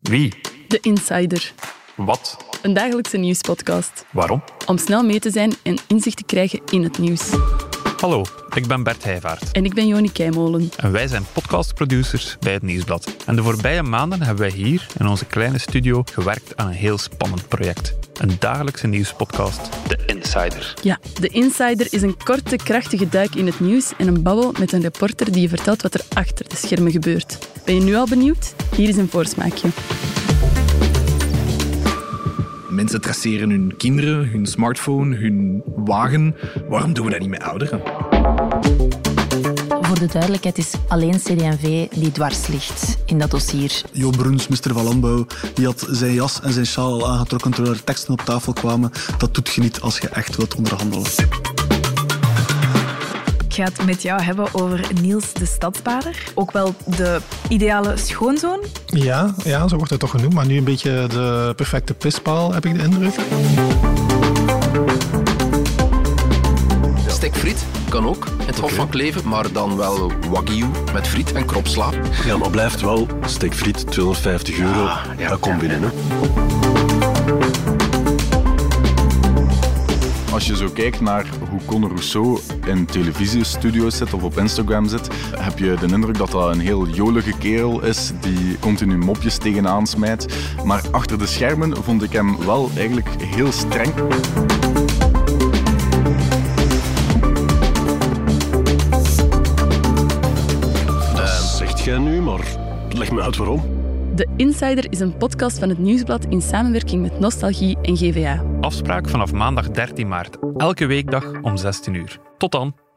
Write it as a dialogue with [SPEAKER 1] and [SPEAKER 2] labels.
[SPEAKER 1] Wie?
[SPEAKER 2] De Insider,
[SPEAKER 1] Wat?
[SPEAKER 2] een dagelijkse nieuwspodcast.
[SPEAKER 1] Waarom?
[SPEAKER 2] Om snel mee te zijn en inzicht te krijgen in het nieuws.
[SPEAKER 3] Hallo, ik ben Bert Heijvaart
[SPEAKER 2] En ik ben Joni Keimolen.
[SPEAKER 3] en wij zijn podcastproducers bij het Nieuwsblad. En de voorbije maanden hebben wij hier in onze kleine studio gewerkt aan een heel spannend project. Een dagelijkse nieuwspodcast, De Insider.
[SPEAKER 2] Ja, de Insider is een korte, krachtige duik in het nieuws en een babbel met een reporter die je vertelt wat er achter de schermen gebeurt. Ben je nu al benieuwd? Hier is een voorsmaakje.
[SPEAKER 4] Mensen traceren hun kinderen, hun smartphone, hun wagen. Waarom doen we dat niet met ouderen?
[SPEAKER 5] Voor de duidelijkheid is alleen CD&V die dwars ligt in dat dossier.
[SPEAKER 6] Jo Bruns, minister van Landbouw, die had zijn jas en zijn sjaal al aangetrokken terwijl er teksten op tafel kwamen. Dat doet je niet als je echt wilt onderhandelen.
[SPEAKER 7] Ik ga het met jou hebben over Niels de Stadsbader. Ook wel de ideale schoonzoon.
[SPEAKER 8] Ja, ja, zo wordt het toch genoemd. Maar nu een beetje de perfecte pispaal, heb ik de indruk.
[SPEAKER 9] Stekfriet kan ook. Het Hof van Kleven, maar dan wel wagyu met friet en kropsla.
[SPEAKER 10] Ja, maar blijft wel, stekfriet, 250 euro, dat komt binnen. Hè.
[SPEAKER 11] Als je zo kijkt naar hoe Conor Rousseau in televisiestudio's zit of op Instagram zit, heb je de indruk dat dat een heel jolige kerel is die continu mopjes tegenaan smijt. Maar achter de schermen vond ik hem wel eigenlijk heel streng.
[SPEAKER 10] Dat zegt jij nu, maar leg me uit waarom.
[SPEAKER 2] De Insider is een podcast van het Nieuwsblad in samenwerking met Nostalgie en GVA.
[SPEAKER 3] Afspraak vanaf maandag 13 maart, elke weekdag om 16 uur. Tot dan!